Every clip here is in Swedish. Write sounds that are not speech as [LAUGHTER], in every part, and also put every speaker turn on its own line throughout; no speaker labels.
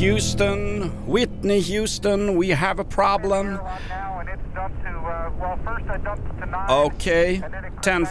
Houston, Whitney Houston, we have a problem. Okej,
Okej, 10-4.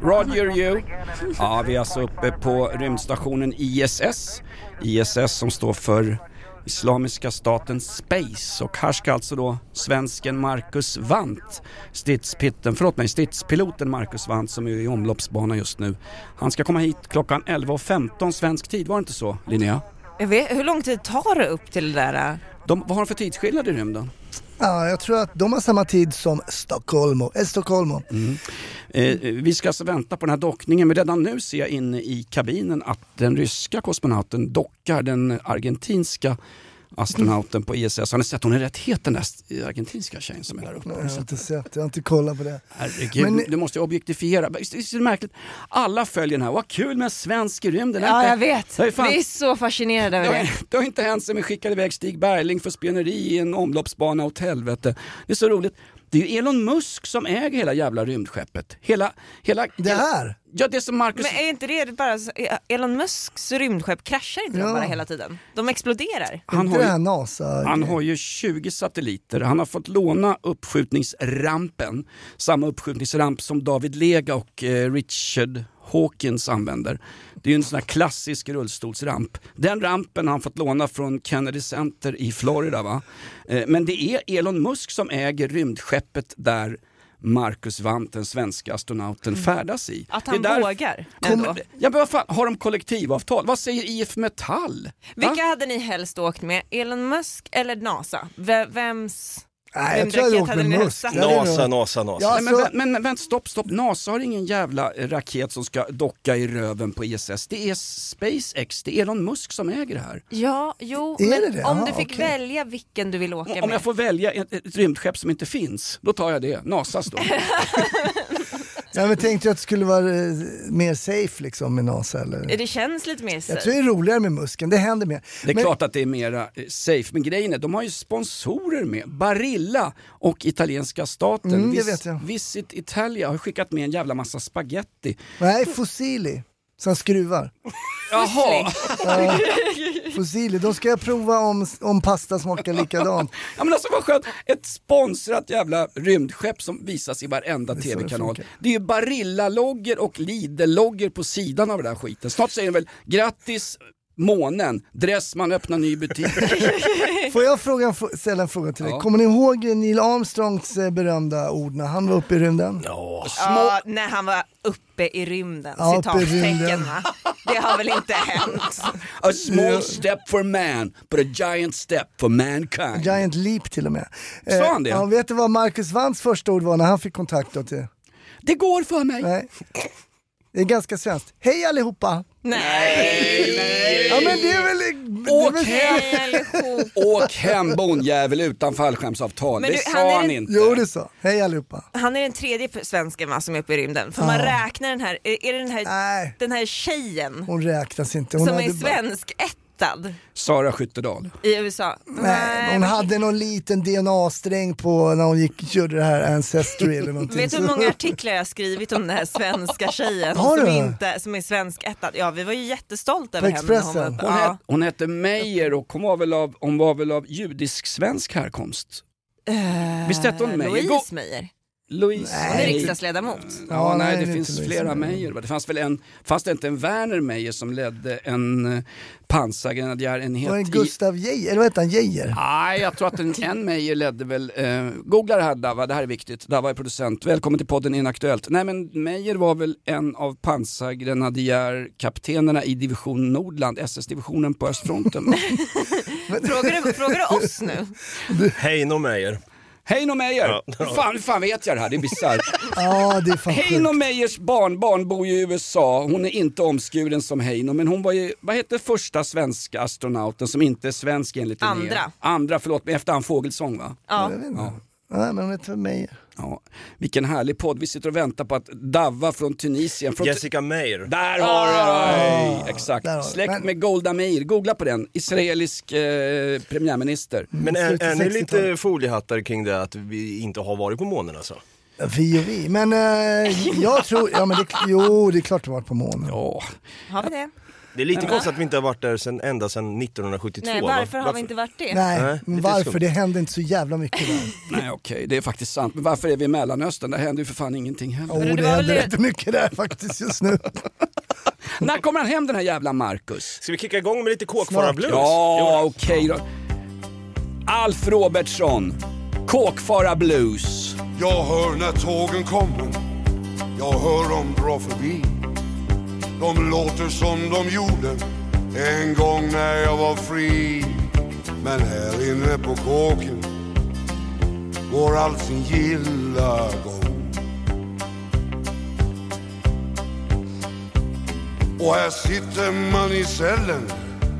10-4. Roger you. [LAUGHS] Ja, vi är alltså uppe på rymdstationen ISS. ISS som står för Islamiska staten Space och här ska alltså då svensken Marcus Wandt, stridspitten, förlåt mig, stridspiloten Marcus Wandt som är i omloppsbana just nu. Han ska komma hit klockan 11.15 svensk tid, var det inte så Linnea?
Jag vet, hur lång tid tar det upp till det där?
De, vad har de för tidsskillnad i rymden?
Ja, jag tror att de har samma tid som Stockholmo. Eh, Stockholmo.
Eh, vi ska alltså vänta på den här dockningen, men redan nu ser jag inne i kabinen att den ryska kosmonauten dockar den argentinska astronauten på ISS. Har ni sett? Hon är rätt het den där argentinska tjejen som är där uppe.
Jag har inte sett, jag har inte kollat på det.
Herregud,
Men-
du måste ju objektifiera. Visst visst är det märkligt? Alla följer den här. Vad kul med en svensk i rymden.
Ja,
Det-
jag vet.
Det har ju fan-
Vi är så
det
fascinerade över
har,
det.
det har inte hänt sen vi skickade iväg Stig Bergling för spioneri i en omloppsbana åt helvete. Det är så roligt. Det är ju Elon Musk som äger hela jävla rymdskeppet. Hela, hela...
Det här?
Ja, det som Marcus...
Men är inte det bara så- Elon Musks rymdskepp kraschar inte de
Ja.
bara hela tiden? De exploderar.
Han
inte
har,
det här
ju,
NASA
han har ju 20 satelliter. Han har fått låna uppskjutningsrampen. Samma uppskjutningsramp som David Lega och eh, Richard Hawkins använder. Det är ju en sån här klassisk rullstolsramp. Den rampen har han fått låna från Kennedy Center i Florida. Va? Eh, men det är Elon Musk som äger rymdskeppet där Marcus Wandt, den svenska astronauten, färdas i.
Mm. Att
Det
han
är där-
vågar.
Kommer-
ändå.
Ja, men vad fan, har de kollektivavtal? Vad säger IF Metall? Va?
Vilka hade ni helst åkt med? Elon Musk eller NASA? V- vems?
Nej, jag
Vem
tror jag hade
drack
åkt
hade
med
ni
Musk.
hälsat?
Det hade jag
Nasa,
nog-
Nasa, Nasa.
Ja,
Nej, men,
alltså,
vä- men, men vänta, stopp, stopp. NASA har ingen jävla eh, raket som ska docka i röven på ISS. Det är SpaceX, det är Elon Musk som äger det här.
Ja, jo,
Är
men
det det?
om
Ja,
du fick
okej.
välja vilken du vill åka med.
Om jag får välja ett, ett rymdskepp som inte finns, då tar jag det. Nasas då.
ja, men tänkte jag att det skulle vara eh, mer safe liksom med NASA eller?
Det känns lite mer
Jag
safe.
tror det är roligare med muskeln, det händer mer.
Det är
men,
klart att det är mera eh, safe, men grejen är de har ju sponsorer med. Barilla och italienska staten.
Mm, det
Vis-
vet jag.
Visit Italia har skickat med en jävla massa spaghetti.
Nej, Fossili. Som skruvar.
Jaha!
Fossili, de ska jag prova om, om pasta
[LAUGHS]
smakar likadant.
Ja men alltså vad skönt, ett sponsrat jävla rymdskepp som visas i varenda
är så det
tv-kanal.
funkar.
Det är ju Barilla-logger och Lidl-logger på sidan av den här skiten. Snart säger de väl grattis månen, Dressman öppnar ny
[LAUGHS]
butik.
Får jag fråga, en fr- ställa en fråga till dig?
Ja.
Kommer ni ihåg Neil Armstrongs eh, berömda ord när han var uppe i rymden?
Ja, när han var uppe i rymden,
Ja, uppe i
citattecken
rymden.
va? Det har väl inte hänt?
a small step for man, but a giant step for mankind.
Giant Leap till och med.
Sa
Eh,
han det?
Ja, vet du vad Marcus Wands första ord var när han fick kontakt då till...
Det går för mig.
Nej. Det är ganska svenskt. Hej allihopa!
Nej,
Ja men det är väl... det är
Åk
väl-
hem!
allihop.
Åk hem bondjävel utan fallskärmsavtal.
Men
Det
du, han
sa
är
han
en-
inte.
Jo det sa Hej allihopa.
Han är den tredje p- svensken va, som är uppe i rymden. Får man räkna den här, är är det den här,
Nej.
den här tjejen
Hon räknas inte. Hon
som
hade
är
bara-
svenskättad
Sara Skyttedal.
i USA?
Nej, hon
men-
hade någon liten DNA-sträng på när hon gick, körde det här
[LAUGHS]
Ancestry eller någonting.
Vet du hur många artiklar jag har skrivit om den här svenska tjejen
Har
som,
du?
inte, som är svenkättad? Ja, vi var ju jättestolta över henne. när hon var
Expressen?
uppe.
Hon,
Ja.
het, hon hette Meyer och hon var väl av, hon var väl av judisk-svensk härkomst. Visst hette hon Meyer? Go-
Louise Meyer.
Louise.
Hon är
Nej.
riksdagsledamot.
Ja,
Ja,
nej,
nej,
det
det är
finns
inte
flera
Louise.
Meijer. va? Det fanns väl en, fanns det inte en Werner Meijer som ledde en eh, pansargrenadjärenhet?
Var det
i-
Gustav Geijer? Eller vad hette han? Geijer?
Nej, jag tror att en, en Meijer ledde väl... Eh, googla det här Dava, det här är viktigt. Dava är producent. Välkommen till podden Inaktuellt. Nej men Meijer var väl en av pansargrenadjärkaptenerna i division Nordland, SS-divisionen på östfronten.
[LAUGHS]
va?
Frågar du, frågar du oss nu?
Heino Meyer.
Heino Meijer!
Ja.
Hur fan, hur fan vet jag det här? Det är bisarrt.
Ja, det är [LAUGHS] fan sjukt.
Heino Meijers barnbarn bor ju i USA. Hon är inte omskuren som Heino, men hon var ju, vad hette första svenska astronauten som inte är svensk enligt Linné?
Andra.
Andra, förlåt, men efter Ann Fågelsång va?
Ja.
Jag vet inte. Nej, men hon heter Meijer.
Ja. Vilken härlig podd. Vi sitter och väntar på att Davva från Tunisien, från
Jessica Meyer.
Där har du den! Exakt.
Ah. Där har du.
Släkt
Men-
med Golda Meir. Googla på den. Israelisk eh, premiärminister.
Men är,
Slutet
är ni
60-talet.
lite foliehattar kring det att vi inte har varit på månen alltså?
Vi och vi. Men eh, jag tror, ja men det, jo det är klart det var på månen.
Ja,
Har vi det?
Det är lite konstigt att vi inte har varit där sen, ända sedan 1972.
Nej,
va?
varför har vi inte varit det?
Nej,
Nej,
men
lite
varför?
skumt.
Det hände inte så jävla
[LAUGHS]
mycket där.
nej okej, det är faktiskt sant. Men varför är vi i Mellanöstern? Där händer ju för fan ingenting heller.
Jo,
det
det
var
händer
väl-
rätt mycket där faktiskt just nu. [LAUGHS]
När kommer han hem den här jävla Marcus?
Ska vi kicka igång med lite kåkfararblues?
Ja, okej då. Alf Robertsson, Kåkfara Blues.
Jag hör när tågen kommer, jag hör dem dra förbi. De låter som de gjorde en gång när jag var fri. Men här inne på kåken går allt sin gilla gång. Och här sitter man i cellen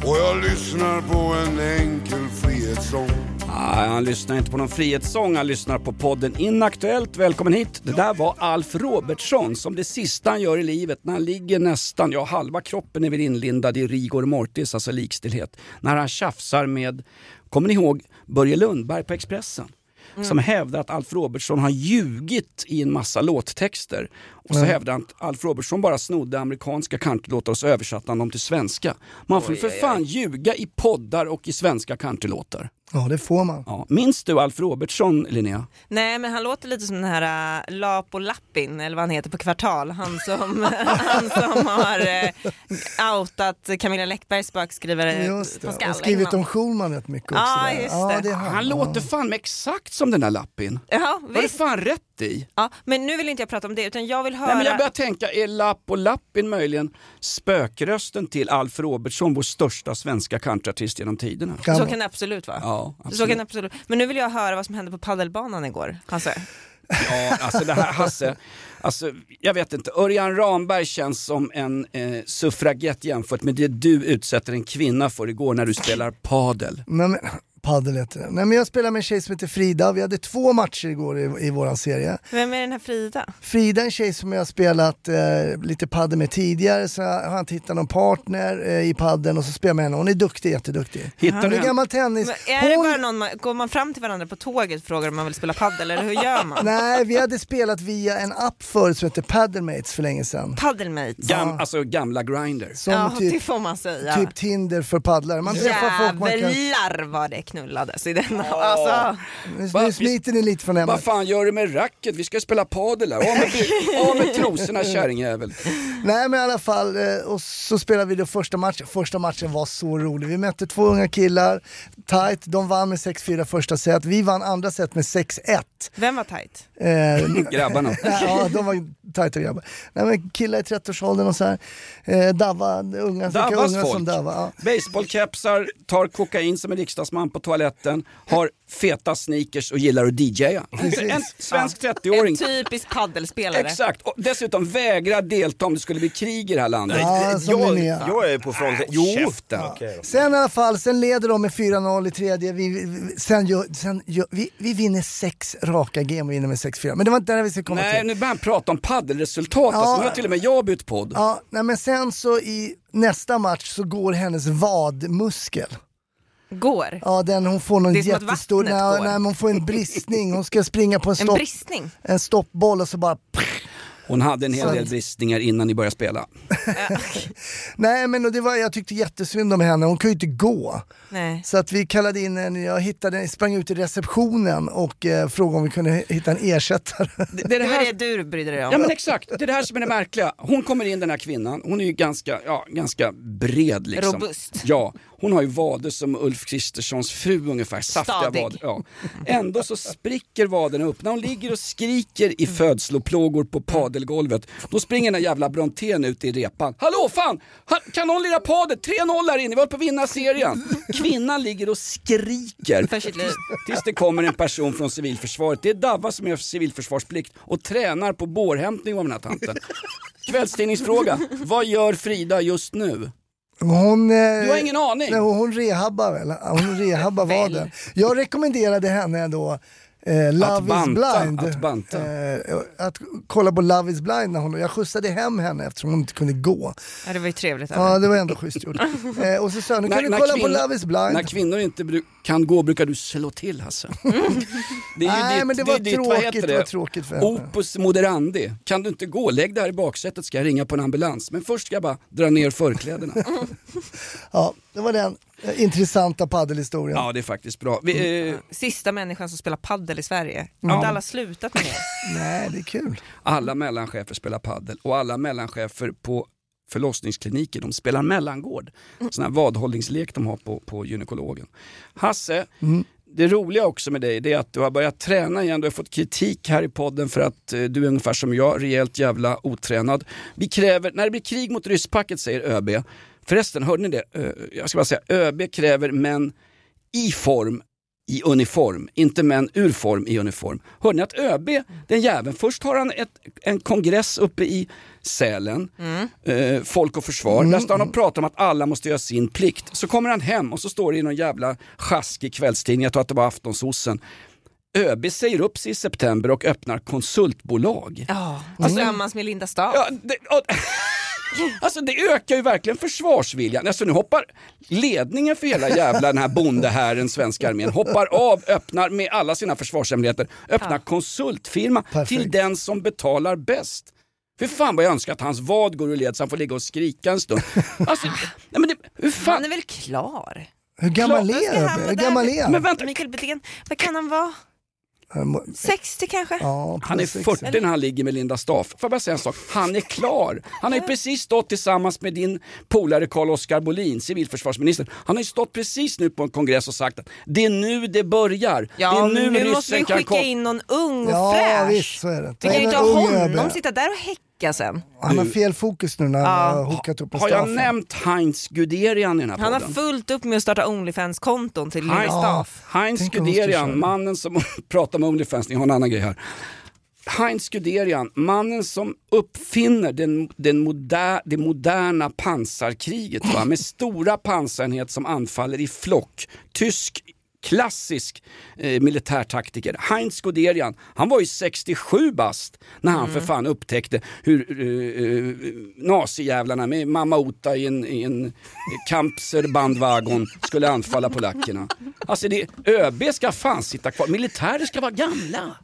och jag lyssnar på en enkel frihetssång.
Ah, han lyssnar inte på någon frihetssång, han lyssnar på podden Inaktuellt. Välkommen hit! Det där var Alf Robertsson som det sista han gör i livet när han ligger nästan, ja halva kroppen är väl inlindad i rigor mortis, alltså likstillhet. När han tjafsar med, kommer ni ihåg Börje Lundberg på Expressen? Som hävdar att Alf Robertsson har ljugit i en massa låttexter. Och så hävdar han att Alf Robertsson bara snodde amerikanska countrylåtar och så översatte han dem till svenska. Man får ju för fan ljuga i poddar och i svenska countrylåtar.
Ja det får man.
Ja. Minns du Alf Robertsson, Linnea?
Nej men han låter lite som den här äh, Lapo Lappin eller vad han heter på Kvartal. Han som, [LAUGHS] han som har äh, outat Camilla Läckbergs bakskrivare
Just det.
på skall.
Och skrivit
innan.
om Schulman rätt mycket också.
Ja,
där.
just
Ja,
det.
det är han.
Han låter fan med exakt som den där lappin.
Ja,
Var det
visst.
fan rätt i?
Ja, men nu vill inte jag prata om det utan jag vill höra.
Nej, men jag börjar tänka, är Lapp och Lappin möjligen spökrösten till Alf Robertsson, vår största svenska countryartist genom tiderna?
Ja.
Så kan det absolut vara.
Ja, absolut.
Så kan det absolut. Men nu vill jag höra vad som hände på paddelbanan igår. Hasse.
Ja, alltså det här Hasse, alltså, jag vet inte, Örjan Ramberg känns som en eh, suffragett jämfört med det du utsätter en kvinna för igår när du spelar padel.
Nej, men, padel heter det. Nej men jag spelar med en tjej som heter Frida. Vi hade två matcher igår i, i våran serie.
Vem är den här Frida?
Frida är en tjej som jag har spelat eh, lite padel med tidigare. Så har han hittat någon partner eh, i paddeln och så spelar jag med henne. Hon är duktig, jätteduktig.
Hittar
Hon
du
är
henne?
gammal tennis.
Men är det
Hon-
bara någon man, går man fram till varandra på tåget och frågar om man vill spela paddel eller hur gör man?
Nej, vi hade spelat via en app förut som hette Paddlemates för länge sedan.
Paddelmates.
Gam, Alltså gamla grinder.
Som
ja, det
typ,
får man säga.
typ Tinder för paddlare. Man träffar folk man kan...
Jävlar vad det knullades i den. Alltså,
Nu,
Va?
nu smiter ni lite från
Vad
ämnet.
fan gör du med racket? Vi ska ju spela padel här. Av med, by- av med trosorna
[LAUGHS]
kärringjävel.
Nej men i alla fall, eh, och så spelade vi då första matchen. Första matchen var så rolig. Vi mötte två unga killar, tight. De vann med 6-4 första set. Vi vann andra set med 6-1.
vem var tajt?
Eh, [LAUGHS]
Grabbarna.
ja, de var ju tajta grabbar. Nej, men killar i 30-årsåldern och så här. Eh, Dava, unga, vilka
Davas
unga
folk.
som Dava. Ja.
Baseballkepsar, tar kokain som en riksdagsman på toaletten, har feta sneakers och gillar att DJa. En svensk 30-åring.
En typisk paddelspelare.
Exakt, och dessutom vägrar delta om det skulle bli krig i det här landet.
Ja, som
jag,
Linnea.
jag är på fronten. Jo!
Käften.
Okej då.
Sen i alla fall, sen leder de med 4-0 i tredje. Vi, vi- sen gör, sen gör, vi, vi vinner sex raka game och vinner med 6-4. Men det var inte där vi skulle komma
Nej,
till.
nu börjar han prata om paddelresultat. Alltså, nu har till och med jag bytt podd.
Ja, nej, men sen så i nästa match så går hennes vadmuskel.
Går.
Ja, den, hon får någon
Det är som att
jättestor...
vattnet
Nej,
går.
nej, men hon får en bristning. Hon ska springa på
En
en, stopp,
bristning.
en stoppboll och så bara...
Hon hade en hel
Så
del
att-
bristningar innan ni började spela.
Nej men och det var, jag tyckte jättesynd om henne, hon kunde ju inte gå.
Nej.
Så att vi kallade in en, jag hittade, sprang ut i receptionen och eh, frågade om vi kunde hitta en ersättare.
Det, det är
Det
det
var
här-
det du brydde dig om.
Ja men exakt, det är det här som är det märkliga. Hon kommer in den här kvinnan, hon är ju ganska, ja, ganska bred liksom.
Robust.
Ja, hon har ju vader som Ulf Kristerssons fru ungefär, saftiga
Stadig.
vader. Ja. Ändå så spricker vaderna upp. När hon ligger och skriker i födsloplågor på padelgolvet, då springer den här jävla Brontén ut i repan. Hallå fan! Ha- Kan någon lira padel? 3-0 här inne, vi håller på att vinna serien. Kvinnan ligger och skriker.
För sitt liv.
Tills det kommer en person från civilförsvaret. Det är Davva som gör civilförsvarsplikt och tränar på bårhämtning av den här tanten. Kvällstidningsfråga. Vad gör Frida just nu?
Hon, eh,
Du har ingen aning.
Nej, hon- hon rehabbar väl, hon
[LAUGHS]
rehabbar
Väl.
vaden. Jag rekommenderade henne då eh, Love
Att banta,
is blind.
att banta.
Eh, att kolla på Love is blind när hon, jag skjutsade hem henne eftersom hon inte kunde gå.
Ja, det var ju trevligt.
Ja det var ändå schysst gjort. Eh, och så sa jag, nu kan du kolla på
kvinn-
Love is blind.
när kvinnor inte bru- kan gå brukar du slå till Hasse. Det är ju
Nej,
ditt,
men det
är
var
ju ditt, vad
tråkigt,
heter
det var tråkigt för henne.
Opus moderandi. Kan du inte gå, lägg dig här i baksätet ska jag ringa på en ambulans. Men först ska jag bara dra ner
[LAUGHS]
förkläderna.
Ja, det var den eh, intressanta paddelhistorien.
Ja det är faktiskt bra. Vi, eh,
Sista människan som spelar paddel i Sverige. Har inte alla slutat
[LAUGHS]
med det?
Nej, det är kul.
Alla mellanchefer spelar paddel och alla mellanchefer på förlossningskliniker, de spelar mellangård. Sån här vadhållningslek de har på, på gynekologen. Hasse, det roliga också med dig det är att du har börjat träna igen. Du har fått kritik här i podden för att eh, du är ungefär som jag, rejält jävla otränad. Vi kräver, när det blir krig mot rysspacket säger ÖB, förresten hörde ni det? Eh, Jag ska bara säga, ÖB kräver män i form i uniform, inte män ur form i uniform. Hörde ni att ÖB, den jäveln, först har han ett, en kongress uppe i Sälen, eh, Folk och Försvar, där står han och pratar om att alla måste göra sin plikt. Så kommer han hem och så står det i någon jävla sjaskig kvällstidning, jag tror att det var Aftonsossen, ÖB säger upp sig i september och öppnar konsultbolag.
Ja.
Mm.
Tillsammans med Linda Staaf.
Ja, det, och, [LAUGHS] alltså det ökar ju verkligen försvarsviljan. Alltså nu hoppar ledningen för hela jävla den här bondehären, svenska armén, hoppar av, öppnar med alla sina försvarshemligheter, öppnar konsultfirma till
Perfekt.
den som betalar bäst. Hur fan vad jag önskar att hans vad går ur led så han får ligga och skrika en stund. Alltså, nej men det, hur
Han
fan?
är väl klar?
Hur gammal
Klart,
är
Han
ÖB?
var
Hur
där
gammal
med-
är han?
Men vänta.
Mikael Bydén, vad kan han vara?
Han må-
60 kanske?
Ja,
Han är
precis.
40 när han ligger med Linda Staff. Får jag bara säga en sak? Han är klar. Han har ju precis stått tillsammans med din polare Carl-Oskar Bolin, civilförsvarsminister. Han har ju stått precis nu på en kongress och sagt att det är nu det börjar. det
Ja,
är
nu,
ryssen
måste vi skicka
kom-
in någon ung och
Ja,
fräsch.
visst så är det.
Du kan ju inte
En
ha
ung
honom
ÖB.
sitta där och häcka sen.
Han har fel fokus nu när han har hookat upp en
Har jag
staffen.
nämnt Heinz Guderian i den här
Han har
podden?
fullt upp med att starta Onlyfans-konton till Linda
Heinz,
Staaf.
Heinz
Tänk om hon skulle
Guderian,
köra.
mannen som [LAUGHS] pratar med Onlyfans, ni har en annan grej här. Heinz Guderian, mannen som uppfinner den, den moder, det moderna pansarkriget va? med stora pansarenhet som anfaller i flock. Tysk klassisk eh, militärtaktiker. Heinz Guderian, han var ju 67 bast när han för fan upptäckte hur eh, eh, nazijävlarna med mamma Ota i en, i en Kampser-bandvagon skulle anfalla polackerna. Alltså det, ÖB ska fan sitta kvar, militärer ska vara gamla.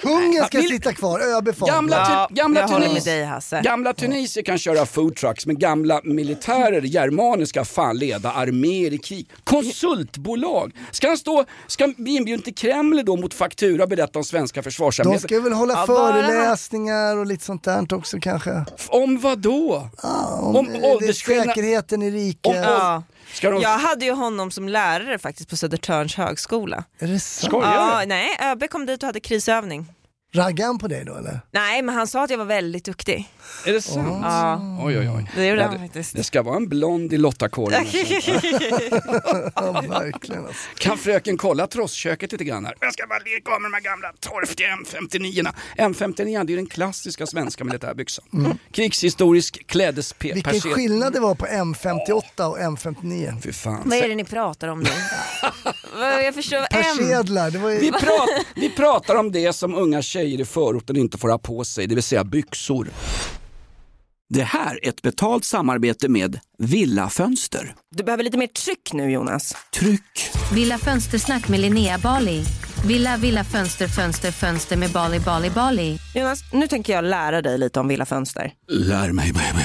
Kungen ska
Vill-
sitta kvar, ÖB får
Gamla, typ- tu-
Ja,
Typ
gamla,
jag håller med
tunis-
dig, Hasse.
gamla tunisier kan köra foodtrucks men gamla militärer, germaner ska fan leda arméer i krig. Konsultbolag! Ska han stå, ska han bli inbjuden till Kreml då mot faktura och berätta om svenska
De
försvarshemligheter?
ska väl hålla
Ja, bara han-
föreläsningar och lite sånt där också kanske.
Om vad då? om
eh, det är
åldersskillnad?
Säkerheten i riket.
Om-
Ja.
Ska de...
Jag hade ju honom som lärare faktiskt på Södertörns högskola.
Är det sant?
Skojar
Ja,
du?
nej, ÖB kom dit och hade krisövning.
Raggar han på dig då
[LAUGHS]
eller?
Nej, men han sa att jag var väldigt duktig.
Är det sant?
Ja,
Oj, oj, oj.
det gjorde
Ja,
han
det-
faktiskt.
Det ska vara en blond i
[LAUGHS]
Lottakåren. alltså.
Ja, verkligen alltså.
Kan fröken kolla trossköket lite grann här? Jag ska bara lirka av med de här gamla torftiga M59. M59 det är den klassiska svenska militärbygsan. Krigshistorisk
Vilken
klädespersed.
skillnad det var på M58 och M59.
Fy fan.
Vad är det ni pratar om
[LAUGHS]
nu? Vad- jag förstår, M.
Persedlar, det var
Vi,
ju...
prat, vi pratar om det som unga tjejer i förorten inte får ha på sig, det vill säga byxor. Det här är ett betalt samarbete med Villa Fönster.
Du behöver lite mer tryck nu Jonas.
Tryck!
Villa Fönstersnack med Linnea Bali. Villa, villa, fönster, fönster, fönster med Bali, Bali, Bali.
Jonas, nu tänker jag lära dig lite om Villa Fönster.
Lär mig baby.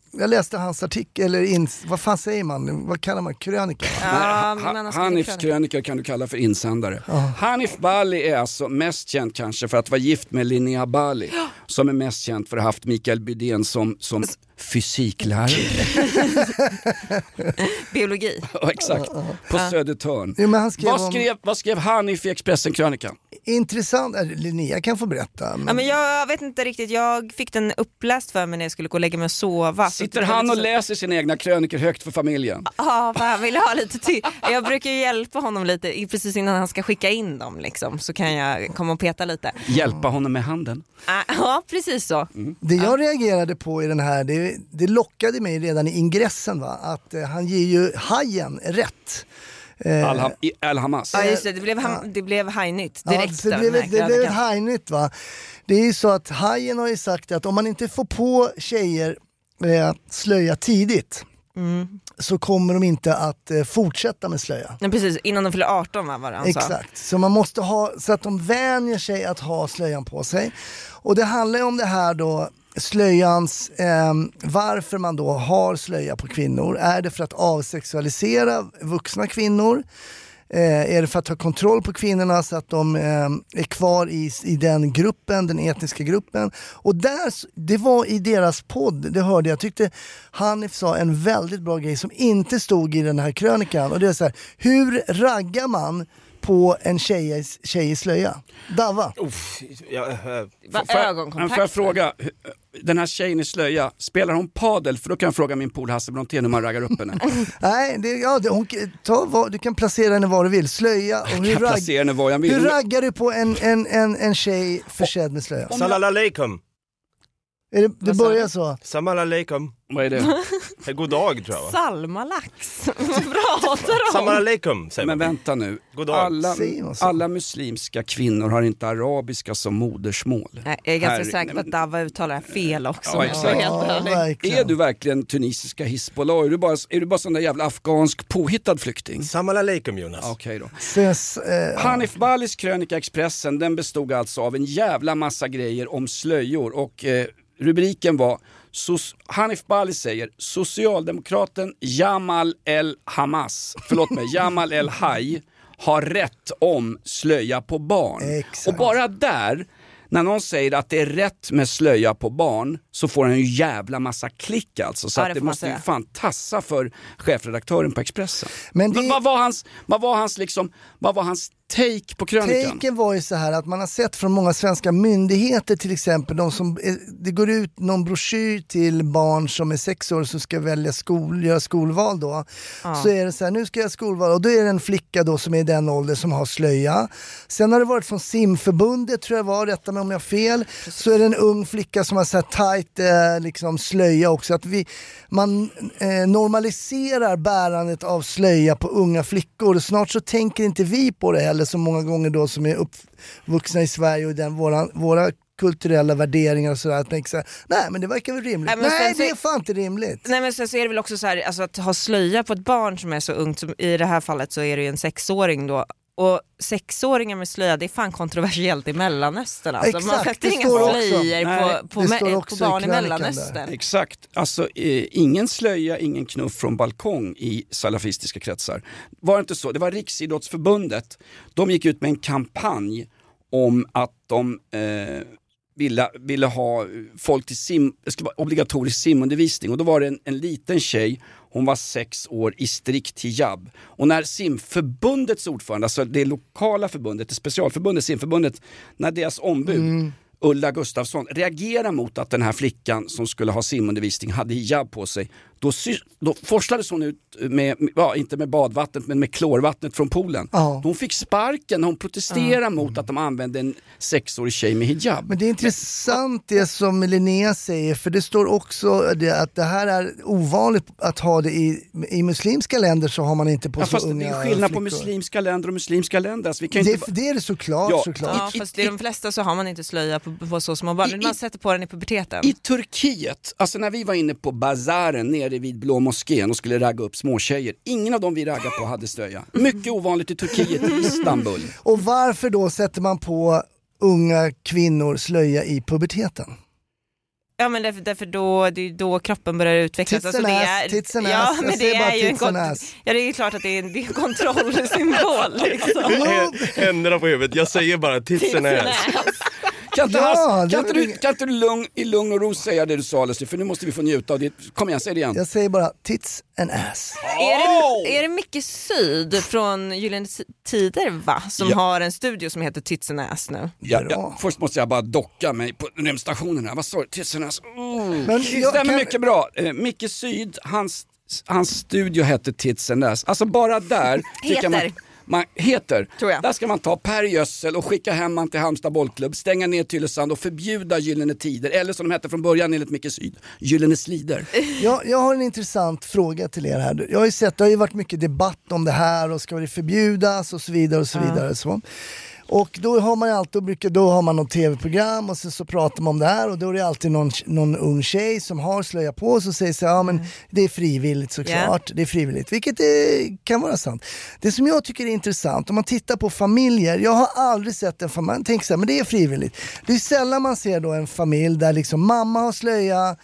jag läste hans artikel, eller ins, vad fan säger man, vad kallar man krönika? va?
Ja,
Ha-
men han skulle
Hanifs
kunna.
krönika kan du kalla för insändare. Hanif Bali är alltså mest känd kanske för att vara gift med Linnea Bali som är mest känd för att ha haft Mikael Bydén som, som fysiklärare. [LAUGHS]
Biologi.
Ja, Exakt, på Södertörn.
Jo, men han skrev
Vad
om-
skrev, vad skrev Hanif i Expressen-krönikan?
Intressant, eh, Linnea kan få berätta. Men,
Ja, men jag vet inte riktigt, jag fick den uppläst för mig när jag skulle gå och lägga mig och sova. Så
Sitter
det-
han och läser sina egna krönikor högt för familjen?
Ja, för han ville ha lite till. Jag brukar ju hjälpa honom lite i- precis innan han ska skicka in dem liksom, så kan jag komma och peta lite.
Hjälpa honom med handen?
Ah, Ja, precis så.
Det jag reagerade på i den här, det, det lockade mig redan i ingressen va, att eh, han ger ju hajen rätt. Eh.
Alham, i Al-Hamas?
Ja, just det, det blev, han, det blev hajnytt direkt.
Ja,
av
det blev,
den
ett-
här
det blev ett
krönikan.
hajnytt va. Det är ju så att hajen har ju sagt att om man inte får på tjejer eh, slöja tidigt
Mm.
så kommer de inte att eh, fortsätta med slöja.
Nej, precis, innan de fyller 18 va, var det han sa.
Exakt, så man måste ha så att de vänjer sig att ha slöjan på sig. Och det handlar ju om det här då slöjans, ehm, varför man då har slöja på kvinnor. Är det för att avsexualisera vuxna kvinnor? Eh, är det för att ta kontroll på kvinnorna så att de ehm, är kvar i, i den gruppen, den etniska gruppen? Och där, s- det var i deras podd, det hörde jag, tyckte Hanif sa en väldigt bra grej som inte stod i den här krönikan. Och det är så här, hur raggar man på en tjej, i- tjej i slöja? Dava.
Oh.
Uff, jag, eh,
Va,
Får jag-
ögonkontakt.
Får jag fråga, hur- den här tjejen i slöja, spelar hon padel? För då kan jag fråga min polare Hasse Brontén hur man raggar upp henne. [LAUGHS]
Nej, det, ja, det, hon, ta, vad, du kan placera henne var du vill. Slöja och hur,
Jag placerar henne var jag vill.
hur
Hon-
raggar du på en, en, en, en tjej försedd med slöja?
Salam aleikum.
Är det, det börjar så.
Salam aleikum.
Vad är det?
Eh, God dag tror jag va?
Salmalax. [LAUGHS] Vad pratar de
Salam
om?
aleikum säger
[LAUGHS] Men
man.
vänta nu,
God dag.
alla,
Säger hon så?
alla muslimska kvinnor har inte arabiska som modersmål.
Nej, Jag är ganska
Herre-
säker på att Dava uttalar det här fel också.
Ja,
om jag
exakt.
ska vara helt
Ja,
ärlig.
verkligen.
Är du verkligen tunisiska Hizbollah? Är du bara, är du bara sån där jävla afghansk påhittad flykting?
Salam aleikum Jonas.
Okej då.
Ses, eh,
Hanif Balis krönika Expressen den bestod alltså av en jävla massa grejer om slöjor och eh, rubriken var Sos- Hanif Bali säger socialdemokraten Jamal El Hamas, förlåt mig, Jamal El Haj har rätt om slöja på barn. Och bara där, när någon säger att det är rätt med slöja på barn så får han ju jävla massa klick alltså. Så
Ja, det
att det
får man
måste ju
säga.
fan tassa för chefredaktören på Expressen.
Men
Va- vad, var hans, vad var hans liksom, vad var hans take på krönikan?
Taken var ju så här att man har sett från många svenska myndigheter till exempel, de som, eh, det går ut någon broschyr till barn som är sex år som ska välja skol, göra skolval då.
Ja.
Så är det så här, nu ska jag göra skolval och då är det en flicka då som är i den åldern som har slöja. Sen har det varit från simförbundet tror jag var, rätta mig om jag har fel, så är det en ung flicka som har så här tajt eh, liksom slöja också. Att vi, man eh, normaliserar bärandet av slöja på unga flickor och snart så tänker inte vi på det heller så många gånger då som är uppvuxna i Sverige och den, våra, våra kulturella värderingar och sådär. Att tänka så här, nej men det verkar väl rimligt.
Nej, men
Nej
sen så-
det är fan inte rimligt.
Nej men sen så är det väl också så här, alltså att ha slöja på ett barn som är så ungt, som i det här fallet så är det ju en sexåring då. Och sexåringar med slöja, det är fan kontroversiellt i Mellanöstern alltså. Man
Exakt,
sätter
det
inga
står också.
slöjor
Nej,
på, på,
det
me-
står
på
också i
barn i
krönikan där.
Mellanöstern.
Exakt, alltså eh, ingen slöja, ingen knuff från balkong i salafistiska kretsar. Var det inte så? Det var Riksidrottsförbundet, de gick ut med en kampanj om att de eh, ville, ville ha folk till sim, det skulle vara obligatorisk simundervisning och då var det en, en liten tjej, hon var sex år i strikt hijab. Och när simförbundets ordförande, alltså det lokala förbundet, det specialförbundet, simförbundet, när deras ombud
Mm.
Ulla Gustafsson reagerar mot att den här flickan som skulle ha simundervisning hade hijab på sig. Då, sy- då forslades hon ut med, ja, inte med badvattnet, men med klorvattnet från poolen.
Ja.
Hon fick sparken när hon protesterade mot att de använde en sexårig tjej med hijab.
Men det är intressant det som Linnea säger, för det står också det att det här är ovanligt att ha det i, i muslimska länder så har man inte på
Ja,
så
fast det
unga
är skillnad på
flickor.
muslimska länder och muslimska länder. Alltså, vi kan ju
det,
inte... bara-
det är det såklart.
Ja.
såklart.
Ja,
I-
fast i de flesta så har man inte slöja på, på så små barn, man sätter på den i puberteten.
I Turkiet, alltså när vi var inne på bazaren nere vid Blå moskén och skulle ragga upp småtjejer, ingen av dem vi raggade på hade slöja. Mycket ovanligt i Turkiet, i Istanbul.
Och varför då sätter man på unga kvinnor slöja i puberteten?
Ja men därför, därför då, det är ju då kroppen börjar utvecklas. Alltså,
Tits and ass, tits and
ja,
ass. Jag
men det
säger bara
är ju en
tits and
kont-
ass.
Ja det är ju klart att det är en, det är en kontrollsymbol liksom.
Händerna på huvudet, jag säger bara tits and ass.
Kan inte,
Ja,
Hass-
det
kan inte
var
du, kan inte du lugn, i lugn och ro säga det du sa Leslie, för nu måste vi få njuta av det. Kom igen, säg det igen.
Jag säger bara tits and ass.
Är det, är det Micke Syd från Gyllene Tider va? Som
Ja.
har en studio som heter Tits and Ass nu?
Ja, ja, först måste jag bara docka mig på rymdstationen här. Vad sa du? Tissernas... Oh.
Men
Det
jag
stämmer
kan-
mycket bra. Eh, Micke Syd, hans, hans studio hette Tissernas. Alltså bara
[LAUGHS]
där... tycker jag
Heter.
man heter. Där ska man ta Per Gössel och skicka hem han till Halmstad bollklubb, stänga ner Tylösand och förbjuda Gyllene Tider. Eller som de hette från början enligt Micke Syd, Gyllene Slider.
Jag, jag har en intressant fråga till er här. Jag har ju sett, det har ju varit mycket debatt om det här och ska det förbjudas och så vidare och så vidare. Så. Och då har man ju alltid, brukar- då har man något tv-program och sen så pratar man om det här och då är det alltid någon, någon ung tjej som har slöja på och så säger så här, ja men det är frivilligt såklart, det är frivilligt, vilket eh, kan vara sant. Det som jag tycker är intressant, om man tittar på familjer, jag har aldrig sett en familj, man tänker så här, men det är frivilligt. Det är sällan man ser då en familj där liksom mamma har slöja,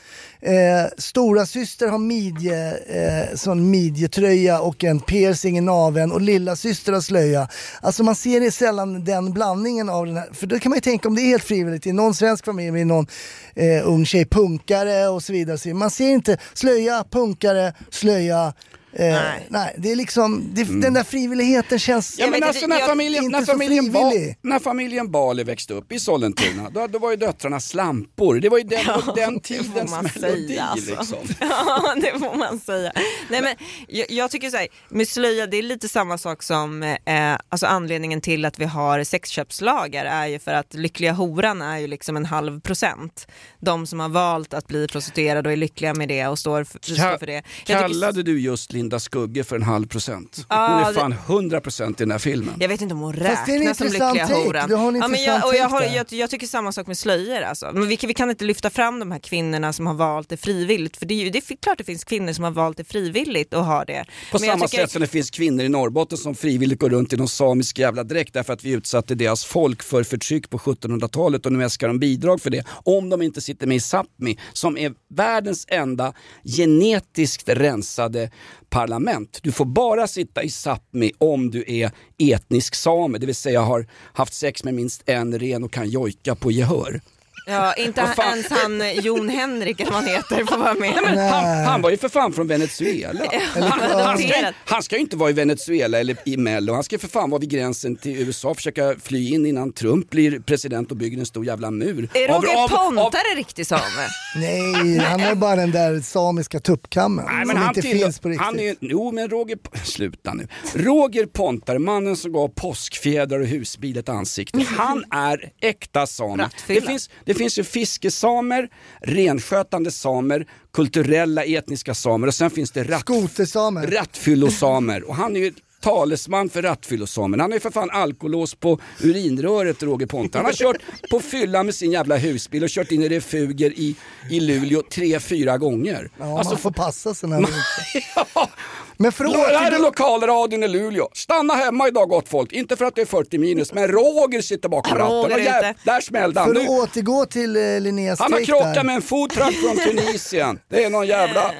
eh, stora syster har midje, eh, sån midjetröja och en piercing i naveln och lilla syster har slöja. Alltså man ser det sällan den blandningen av den här, för då kan man ju tänka om det är helt frivilligt i någon svensk familj med någon eh, ung tjej punkare och så vidare. Så Man ser inte slöja, punkare, slöja. Eh, nej. det är liksom, det, den där frivilligheten känns
Ja, men alltså, när, familjen,
inte
när,
så
familjen ba,
frivillig.
när familjen Bali växte upp i Sollentuna, då, då var ju döttrarna slampor. Det var ju
[LAUGHS]
den, det var den tidens
man säga,
melodi.
alltså.
liksom.
[LAUGHS] ja, det får man säga. Nej, men jag, jag tycker så här, med slöja, det är lite samma sak som eh, alltså anledningen till att vi har sexköpslagar är ju för att lyckliga horan är ju liksom en halv procent. De som har valt att bli prostituerade och är lyckliga med det och står för, står för det. Jag, tycker,
Kallade du just Linda Skugge för en halv procent? Hon
Ja,
är
det-
fan 100 procent i den här filmen.
jag vet inte om hon
Fast det är en
räknas som
intressant
lyckliga
take.
horan.
Du har en
Ja, men jag,
intressant
och jag,
take
har,
där.
jag, jag tycker samma sak med slöjor alltså. Men vi, kan- vi kan inte lyfta fram de här kvinnorna som har valt det frivilligt för det är ju det är klart det finns kvinnor som har valt det frivilligt och har det.
På
Men jag
samma
tycker-
sätt som det finns kvinnor i Norrbotten som frivilligt går runt i någon samisk jävla dräkt därför att vi utsatte deras folk för förtryck på 1700-talet och nu äskar de bidrag för det. Om de inte sitter med i Sápmi som är världens enda genetiskt rensade parlament. Du får bara sitta i Sápmi om du är etnisk same, det vill säga har haft sex med minst en ren och kan jojka på gehör.
Ja, inte
Vad fan?
ens han eh, Jon Henrik eller vad han heter får vara med.
Nej, men han, han var ju för fan från Venezuela.
Ja,
Han,
men
han, ska,
noterat.
han ska ju inte vara i Venezuela eller i Mello. Han ska för fan vara vid gränsen till USA och försöka fly in innan Trump blir president och bygger en stor jävla mur.
Är
Av-
Roger
av- av-
Pontare riktig same?
Nej, han är bara den där samiska tuppkammen
Nej, men
som
han
inte
tillhör-
finns på riktigt.
Han är, ju- jo men Roger, P- [LAUGHS] sluta nu. Roger Pontare, mannen som gav påskfjädrar och husbil ett ansikte. Han är äkta sam. Det
Rattfylla.
finns, det finns ju fiskesamer, renskötande samer, kulturella etniska samer och sen finns det ratt,
Skotersamer.
rattfyllosamer. Och han är ju talesman för rattfyllosamer. Han har ju för fan alkolås på urinröret Roger Pontare. Han har kört på fylla med sin jävla husbil och kört in i refuger i, i Luleå tre, fyra gånger.
Ja,
Alltså,
man får
[LAUGHS]
passa sig när man Men för att
Lo- här är
återgå...
lokalradion i Luleå. Stanna hemma idag gott folk. Inte för att det är 40 minus, men Roger sitter bakom
Roger
ratten. Och
är
jäv-
ute.
där smällde han.
För att
Nu,
återgå till eh, Linneas
han har
take
krockat
där.
med en fot fram från Tunisien. Det är någon
Eh.
jävla...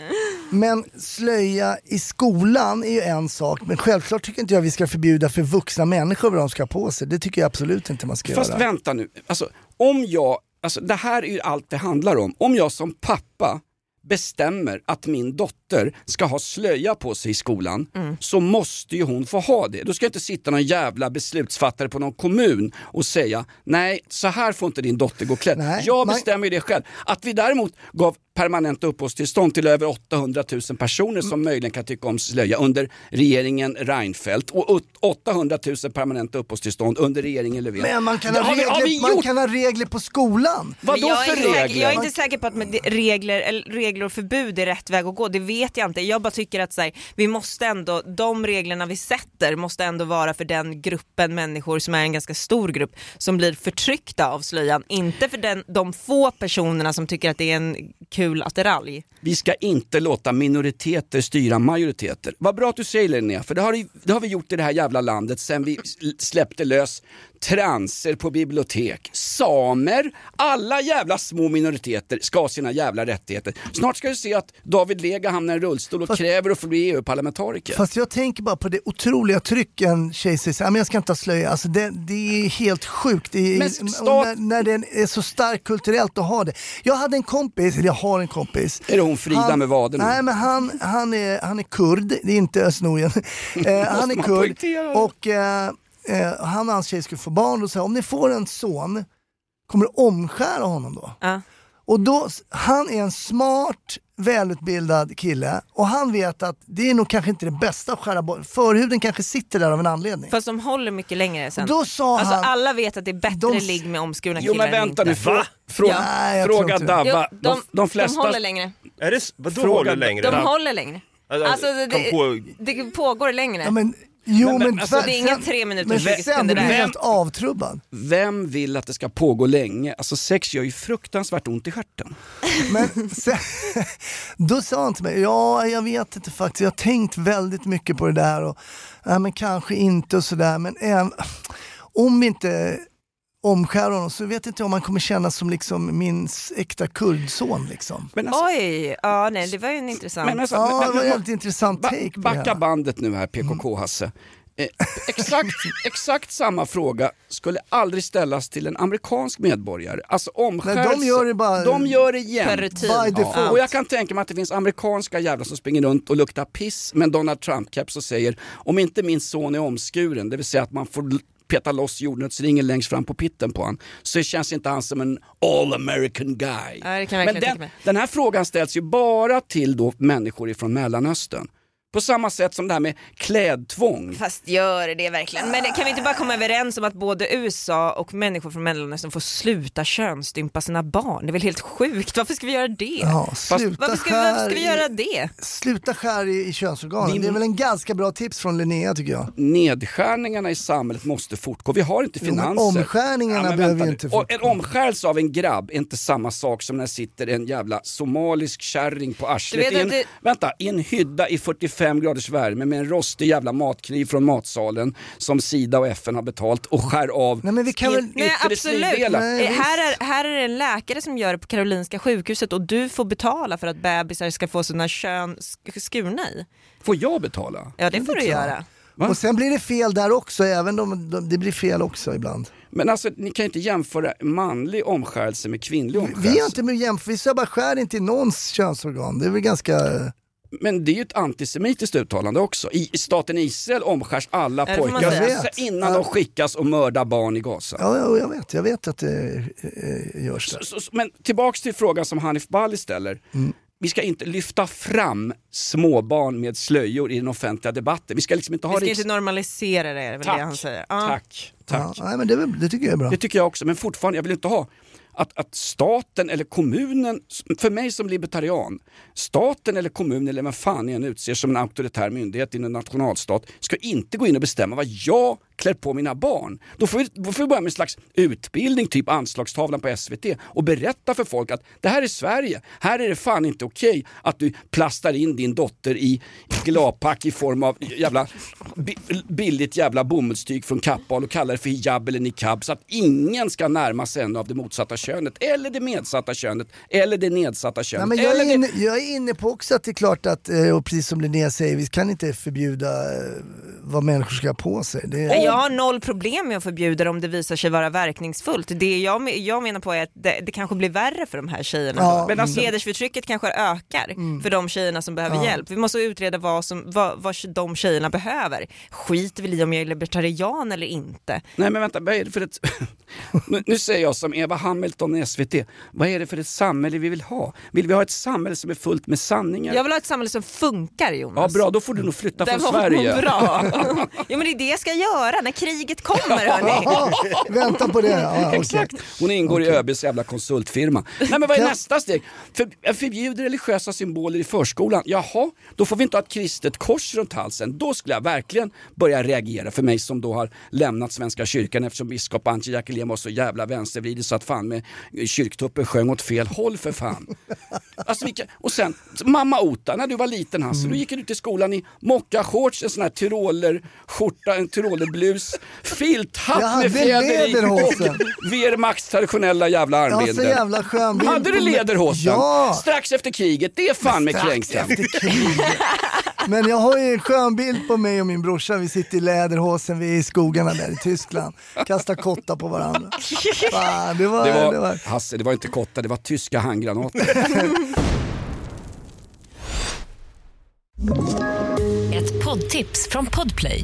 Men slöja i skolan är ju en sak, men självklart tycker inte jag vi ska förbjuda för vuxna människor vad de ska ha på sig. Det tycker jag absolut inte man ska
Fast
göra.
vänta nu. Alltså, om jag... Alltså, det här är ju allt det handlar om. Om jag som pappa bestämmer att min dotter ska ha slöja på sig i skolan
Mm.
så måste ju hon få ha det. Då ska inte sitta någon jävla beslutsfattare på någon kommun och säga nej, så här får inte din dotter gå klädd.
Nej,
jag
man-
bestämmer ju det själv. Att vi däremot gav permanenta uppehållstillstånd till över 800 000 personer
Mm.
som möjligen kan tycka om slöja under regeringen Reinfeldt och ut- 800 000 permanenta uppehållstillstånd under regeringen Löfven.
Men man kan,
Det
ha
har vi, har vi
regler, man
gjort?
kan ha regler på skolan.
Vadå
Men jag är
för
inte säker-
regler?
Jag är inte säker på att med de- regler, eller regler och förbud är rätt väg att gå, det vet jag inte. Jag bara tycker att så här, vi måste ändå, de reglerna vi sätter måste ändå vara för den gruppen människor som är en ganska stor grupp som blir förtryckta av slöjan, inte för den, de få personerna som tycker att det är en kul attiralj.
Vi ska inte låta minoriteter styra majoriteter. Vad bra att du säger Linnea, för det har, ju- det har vi gjort i det här jävla landet sen vi s- släppte lös transer på bibliotek. Samer, alla jävla små minoriteter ska ha sina jävla rättigheter. Snart ska du se att David Lega hamnar i rullstol och kräver att få bli EU-parlamentariker.
Fast jag tänker bara på det otroliga tryck en tjej säger såhär, men jag ska inte ha slöja. Alltså det, det är helt sjukt. Det är,
Men
och
stat-
när, när det är så starkt kulturellt att ha det. Jag hade en kompis, eller jag har en kompis.
Är det hon Frida
Han-
med vaderna?
Nej men han, han, är, han är kurd, det är inte Östnorgen. Eh, han är
man
kurd
poängtera det?
och eh, eh, han och hans tjej skulle få barn och sa om ni får en son, kommer du omskära honom då?
Ja.
Och då, han är en smart, välutbildad kille och han vet att det är nog kanske inte det bästa att skära bort. Förhuden kanske sitter där av en anledning.
Fast de håller mycket längre sen.
Då sa
alltså
han-
alla vet att det är bättre
De-
ligg med omskurna
Jo
killar
men
än
vänta nu,
inte.
frå, fråga,
Ja.
Nej, jag tror
fråga
inte det.
Jo,
Dabba.
de,
De, de
de
flesta...
håller längre.
Är det, s- vadå
Fråga-
håller längre?
De håller längre. Alltså det,
kom på,
det pågår längre.
Ja, men, jo men,
men alltså,
tvär-
det är inga
sen-
tre minuter
Men
och tjugo
sen
sekunder
blir du
där.
helt avtrubbad.
Vem vill att det ska pågå länge? Alltså sex gör ju fruktansvärt ont i stjärten.
Men sen, [LAUGHS] då sa han till mig, ja jag vet inte faktiskt, jag har tänkt väldigt mycket på det där och ja, men kanske inte och sådär men äm, om vi inte omskär honom så vet inte jag om han kommer kännas som liksom min äkta kurdson liksom.
Men alltså,
Oj, ja nej det var ju en intressant.
Men alltså,
Ja,
men-
det var
men-
en jävligt intressant
ba-
take Mm. på det
Backa
hela.
bandet nu här PKK-Hasse. Eh,
[LAUGHS]
exakt, exakt samma fråga skulle aldrig ställas till en amerikansk medborgare. Alltså omskärelse.
Nej, de gör det bara-
De gör det igen.
Per rutin.
By
Ja.
default.
Och jag kan tänka mig att det finns amerikanska jävlar som springer runt och luktar piss med en Donald Trump-keps och säger om inte min son är omskuren, det vill säga att man får l- peta loss jordnötsringen längst fram på pitten på han, så känns inte han som en all American guy.
Ja, det kan jag verkligen
Men
tänka
den,
mig.
den här frågan ställs ju bara till då människor ifrån Mellanöstern. På samma sätt som det här med klädtvång.
Fast gör det verkligen? Men kan vi inte bara komma överens om att både USA och människor från Mellanöstern får sluta könsstympa sina barn? Det är väl helt sjukt? Varför ska vi göra det?
Ja, sluta,
Varför ska, vi, varför ska
skär
vi
i-
göra det?
sluta skär i, i könsorganen,
Din-
det är väl en ganska bra tips från Linnea tycker jag.
Nedskärningarna i samhället måste fortgå. Vi har inte
Jo, men
finanser.
omskärningarna
men
behöver
vänta
ju
nu.
inte
Och
fortgå.
En omskärelse av en grabb är inte samma sak som när sitter en jävla somalisk kärring på
Du
arslet
vet
i en,
att det-
vänta, i en hydda i 25 graders värme med en rostig jävla matkniv från matsalen som Sida och FN har betalt och skär av
Nej, men vi kan väl...
Nej absolut, Eh, här är, här är det en läkare som gör det på Karolinska sjukhuset och du får betala för att bebisar ska få sina kön sk- skurna i.
Får jag betala?
Ja det får du göra.
Och sen blir det fel där också, även om de, det blir fel också ibland.
Men alltså ni kan ju inte jämföra manlig omskärelse med kvinnlig omskärelse.
Vi är inte med jämför, vi säger bara skär inte i någons könsorgan. Det är väl ganska...
Men det är ju ett antisemitiskt uttalande också. I i staten Israel omskärs alla
Ja, det får man
pojkar
säga. Jag vet.
innan de skickas och mördar barn i Gaza.
Ja, ja, jag vet, jag vet att det eh, görs där.
Så- så- Men tillbaks till frågan som Hanif Bali ställer.
Mm.
Vi ska inte lyfta fram småbarn med slöjor i den offentliga debatten. Vi ska liksom inte ha
Vi ska
riks-
inte normalisera det är väl
Tack.
det han säger. Ja.
Tack, tack.
nej, men det, tycker jag är bra.
Det tycker jag också, men fortfarande, jag vill inte ha att, att staten eller kommunen, för mig som libertarian, staten eller kommunen eller vem fan jag än utser som en auktoritär myndighet i en nationalstat ska inte gå in och bestämma vad jag klär på mina barn. Då får vi, då får vi börja med en slags utbildning, typ anslagstavlan på SVT och berätta för folk att det här är Sverige, här är det fan inte okej att du plastar in din dotter i glapack i form av jävla bi- billigt jävla bomullstyg från Kappahl och kallar det för hijab eller niqab så att ingen ska närma sig en av det motsatta könet eller det medsatta könet eller det nedsatta
Nej,
könet.
men jag,
eller
är
det...
inne, jag är inne på också att det är klart att, eh, och precis som Linnea säger, vi kan inte förbjuda eh, vad människor ska ha på sig. Det är-
Men Jag har noll problem med att förbjuda det om det visar sig vara verkningsfullt. Det jag, me- jag menar på är att det, det kanske blir värre för de här tjejerna.
Ja,
då.
men alltså-
Mm.
Hedersförtrycket kanske ökar för de tjejerna som behöver
Ja.
hjälp. Vi måste utreda vad, som, vad, vad de tjejerna behöver. Skit väl i om jag är libertarian eller inte.
Nej men vänta, vad är det för ett... [LAUGHS] nu, nu säger jag som Eva Hamilton i SVT, vad är det för ett samhälle vi vill ha? Vill vi ha ett samhälle som är fullt med sanningar?
Jag vill ha ett samhälle som funkar
Ja
Jonas.
bra, då får du nog flytta
Där
från
var hon
Sverige.
bra. [LAUGHS]
[LAUGHS]
ja men det är det jag ska göra när kriget kommer hörni.
[LAUGHS] Vänta på det. Ja, okej.
Exakt. Hon ingår i ÖBs jävla konsultfirma. Nej men vad är nästa steg? För, jag förbjuder religiösa symboler i förskolan. Jaha, då får vi inte ha ett kristet kors runt halsen. Då skulle jag verkligen börja reagera för mig som då har lämnat Svenska kyrkan eftersom biskop Antje Jackelén var så jävla vänstervridig så att fan med eh, kyrktuppen sjöng åt fel håll för fan. Alltså, vilka, och sen, mamma Ota, när du var liten Hasse, då gick du till skolan i mockashorts, en sån här tyrolerskjorta, en tyrolerblus, filthatt
Jag
med
hade
fjäder i
lederhosen.
och Wehrmachts traditionella jävla
Jag har
armbindel.
så jävla skön bild
Hade
på
du
mig.
lederhosen?
Ja.
Strax efter kriget, det är fan med
strax
kränkten.
Men jag har ju en skön bild på mig och min brorsa. Vi sitter i läderhosen, vi är i skogarna där i Tyskland. Kastar kottar på varandra. Fan, det var,
Det
det
var,
var...
Hasse, det var inte kottar, det var tyska handgranater.
[LAUGHS]
Ett poddtips från Podplay.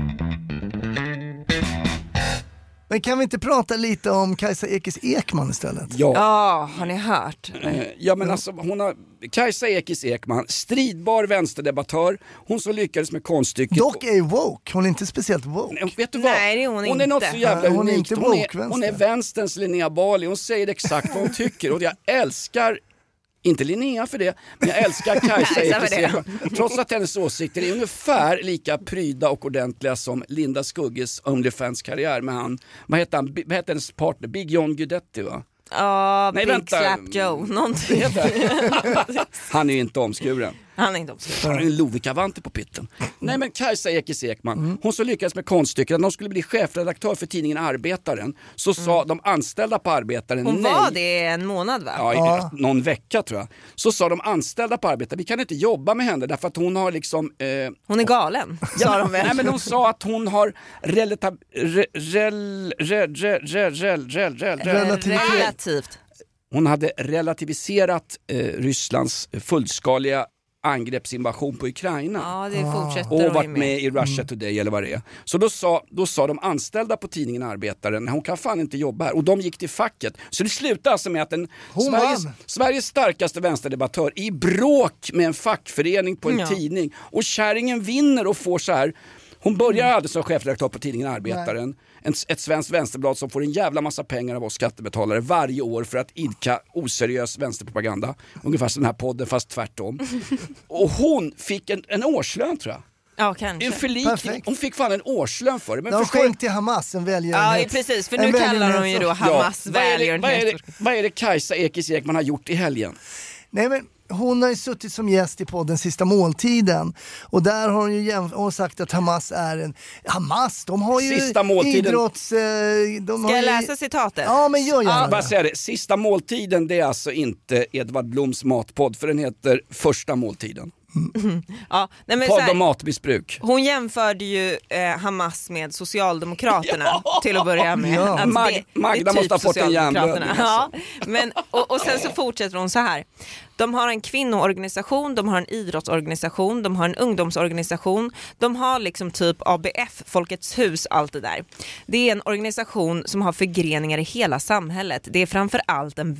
Men kan vi inte prata lite om Kajsa Ekis Ekman istället?
Ja.
har ni hört?
Eh, Ja men alltså hon har, Kajsa Ekis Ekman, stridbar vänsterdebattör, hon som lyckades med konststycket.
Dock är woke, hon är inte speciellt woke.
Nej, Eh, vet du vad?
Nej, det är hon
är något
inte.
så jävla
Ja, hon är
unikt.
inte
hon, är,
woke-vänster.
hon är vänsterns Linnea Bali. Hon säger exakt vad hon tycker och jag älskar inte Linnea för det, men jag älskar Kajsa
Kajsa för
Ekis
det.
Ekman. Trots att hennes åsikter är ungefär lika pryda och ordentliga som Linda Skugges Onlyfans-karriär med han, vad heter, han, vad heter hennes partner? Big John Guidetti va?
Ja,
Nej,
Big
vänta.
Slap Joe, någonting.
Han är ju inte omskuren.
Han är inte omskriven.
Han har ju en Lovikkavanti på pitten. Nej men Kajsa Ekis Ekman, hon som lyckades med konststycket att hon skulle bli chefredaktör för tidningen Arbetaren, så sa de anställda på Arbetaren
Mm. Hon
nej.
var det en månad va?
Ja, i- någon vecka tror jag. Så sa de anställda på Arbetaren, vi kan inte jobba med henne därför att hon har liksom... Eh,
Hon är galen, sa de väl?
Nej men de sa att hon har relata, re, rel, re, re, re, rel, rel, rel, rel,
Relativt.
hon hade relativiserat eh, Rysslands fullskaliga angreppsinvasion på Ukraina.
Ja, det fortsätter hon ju
och varit
med.
med i
Mm.
Russia Today eller vad det är. Så då sa, då sa de anställda på tidningen Arbetaren, hon kan fan inte jobba här. Och de gick till facket. Så det slutade alltså med att en
Hon
Sveriges,
vann.
Sveriges starkaste vänsterdebattör i bråk med en fackförening på en
Ja.
tidning. Och kärringen vinner och får så här Hon
Mm.
börjar aldrig som chefredaktör på tidningen Arbetaren, en, ett svenskt vänsterblad som får en jävla massa pengar av oss skattebetalare varje år för att idka oseriös vänsterpropaganda. Ungefär som den här podden fast
[LAUGHS]
tvärtom. Och hon fick en, en årslön tror jag.
Ja, kanske.
En förlikning. Hon fick fan en årslön för det. Men
De har
förstår-
skänkt till Hamas en
Ja,
välgörenhet.
precis. För
en
nu kallar hon ju
välgörenhets-
då Hamas
vad, är det, vad, är det,
välgörenhet.
vad är det Kajsa Ekis Ekman har gjort i helgen?
Nej, men hon har ju suttit som gäst i podden Sista måltiden och där har hon ju jämf- hon har sagt att Hamas är en... Hamas, de har ju
Sista måltiden.
idrotts... eh, De
Ska
har
jag
ju...
läsa citatet?
Ja, men gör gärna
Jag bara
det.
säga det, sista måltiden det är alltså inte Edvard Bloms matpodd för den heter första måltiden.
Ja, nej, men så
Podd
här,
om matmissbruk.
hon jämförde ju eh, Hamas med Socialdemokraterna till att börja med.
Ja.
Att det-
Mag-
det är typ
Magda måste ha fått en
Socialdemokraterna.
hjärnblödning,
Ja,
alltså.
[LAUGHS] men, och, och sen så fortsätter hon så här. De har en kvinnoorganisation, de har en idrottsorganisation, de har en ungdomsorganisation, de har liksom typ ABF, Folkets hus, allt det där. Det är en organisation som har förgreningar i hela samhället. Det är framför allt en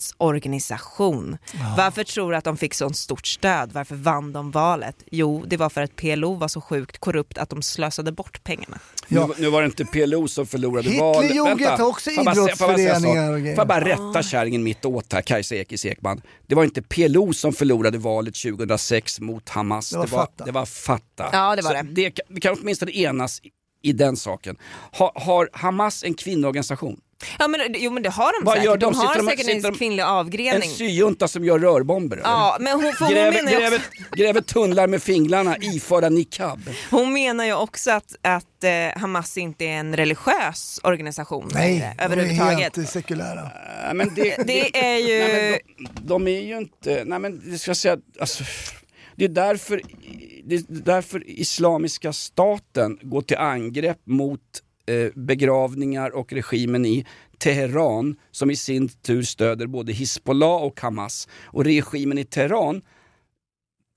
välgörenhetsorganisation. Varför tror du att de fick sånt stort stöd? Varför vann de valet? Jo, det var för att PLO var så sjukt korrupt att de slösade bort pengarna.
Nu, nu var det inte PLO som förlorade
Hitlerjugend
valet.
har också
får jag bara säga- får jag bara säga en sak?
idrottsföreningar och grejer.
Får jag bara rätta kärringen mitt åt här, Kajsa Ekis Ekman. Det var inte PLO som förlorade valet 2006 mot Hamas.
Det var Fatah.
Det var Fatah.
Ja, det var
Så
det.
kan- vi kan åtminstone enas i- i den saken. Har, har Hamas en kvinnoorganisation?
Ja, men, jo men det har de
Vad
säkert.
gör de?
de har
Sitter de-
säkert
sitter
en
de-
kvinnlig
En
avgrening.
syjunta som gör rörbomber? eller?
Ja, men hon, för hon,
gräver,
menar ju
gräver,
också,
gräver tunnlar med fingrarna iförda niqab.
hon menar ju också att, att eh, Hamas inte är en religiös organisation längre,
Nej, de är
överhuvudtaget.
helt eh, sekulära.
Nej, men det,
[LAUGHS] Det är ju-
Nej, men de, de är ju inte... Nej, men det ska jag säga... Alltså, det är därför, det är därför Islamiska staten går till angrepp mot eh, begravningar och regimen i Teheran som i sin tur stöder både Hizbollah och Hamas. Och regimen i Teheran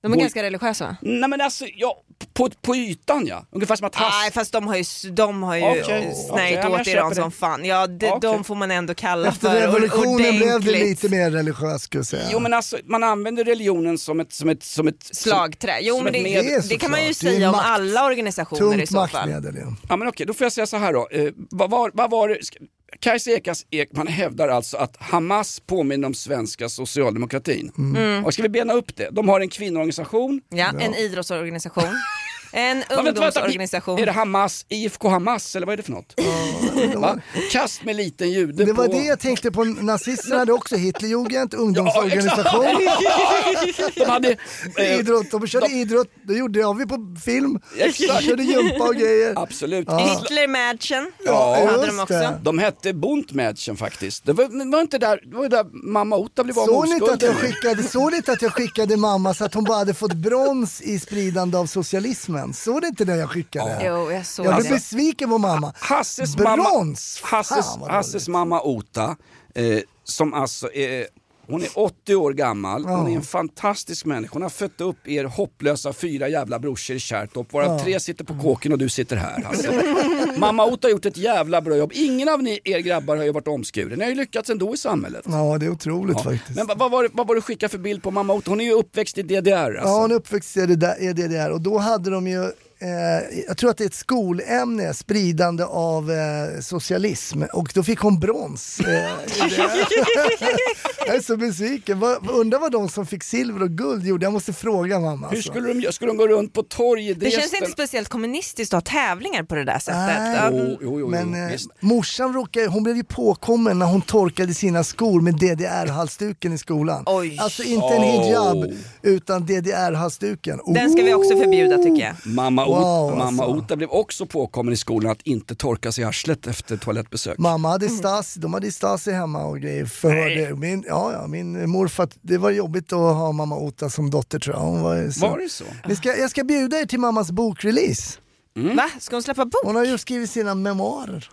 De är
Hon-
ganska religiösa.
Nej men alltså, ja, på, på ytan ja. Ungefär som att Hass...
Nej fast de har ju, de har ju
Okej,
okay,
okej,
snärjt
ja, men
åt
jag
Iran
köper
som
det.
fan. Ja, de,
Okej.
de får man ändå kalla
Efter
för
revolutionen blev det
ordentligt.
lite mer religiöst skulle jag säga.
Jo men alltså, man använder religionen som ett... Som ett, som ett
Slagträ. Jo
som
men
ett
det,
medel.
det, kan man ju
såklart. Det är
säga om
makt.
alla organisationer i så fall.
Ja men okej, då får jag säga så här då. Eh, vad, var, vad var det? ska- Kajsa Ekas Ekman hävdar alltså att Hamas påminner om svenska socialdemokratin.
Mm.
Och ska vi bena upp det? De har en kvinnoorganisation.
Ja,
[LAUGHS]
en idrottsorganisation. En
Ja, vänta, vänta.
ungdomsorganisation.
Är det Hamas, IFK Hamas eller vad är det för något? Va? Kast med liten jude
Det var
på...
det jag tänkte på, nazisterna hade också Hitlerjugend, ungdomsorganisation.
[LAUGHS]
[LAUGHS]
de hade, eh,
idrott, de körde idrott, det gjorde jag, har vi på film. De
Exakt.
körde gympa och grejer.
Absolut.
Ja.
Hitlermatchen
Ja,
hade de också.
De hette Buntmädchen faktiskt. Det var, det var inte där, det var ju där mamma Ota blev av med
Såg ni, inte att jag
oskulden.
skickade, såg ni inte att jag skickade mamma så att hon bara hade fått brons i spridande av socialismen? Såg ni inte det jag skickade?
Jo, jag såg
jag
det.
blev besviken på mamma.
Hasses
brons!
mamma, Hasses,
Fan, vad
Hasses mamma Ota, eh, som alltså är, hon är 80 år gammal, hon är en fantastisk människa. Hon har fött upp er hopplösa fyra jävla brorsor i Kärrtorp, varav
Ja.
tre sitter på kåken och du sitter här. Hasse. [LAUGHS] mamma Ota har gjort ett jävla bra jobb. Ingen av ni, er grabbar har ju varit omskuren. Ni har ju lyckats ändå i samhället.
Ja, det är otroligt faktiskt.
Men vad, vad, var, det- vad var det du skickade för bild på mamma Ota? Hon är ju uppväxt i DDR alltså.
Ja, hon är uppväxt i DDR, i DDR och då hade de ju Eh, jag tror att det är ett skolämne, spridande av eh, socialism. Och då fick hon brons. Eh, i det. jag är så besviken. Vad- Undrar vad de som fick silver och guld gjorde. Jag måste fråga mamma. alltså.
Hur skulle de göra? Skulle de gå runt på torg i
Det känns
Dresden?
inte speciellt kommunistiskt att ha tävlingar på det där sättet.
Nej.
Um,
Men eh, morsan råkade, hon blev ju påkommen när hon torkade sina skor med DDR-halsduken i skolan. Alltså inte en hijab
Oh.
utan DDR-halsduken.
Den ska vi också förbjuda tycker jag.
Mamma,
Wow,
Ota, mamma
alltså.
Ota blev också påkommen i skolan att inte torka sig i arslet efter toalettbesök.
Mamma hade Stasi, de hade Stasi hemma och grejer. Förhörde. Min, ja, ja, min morfar, det var jobbigt att ha mamma Ota som dotter tror jag. Hon var, ju
Var det så?
Vi ska, jag ska bjuda er till mammas bokrelease.
Va? Ska hon släppa bok?
Mm. Hon har ju skrivit sina memoarer.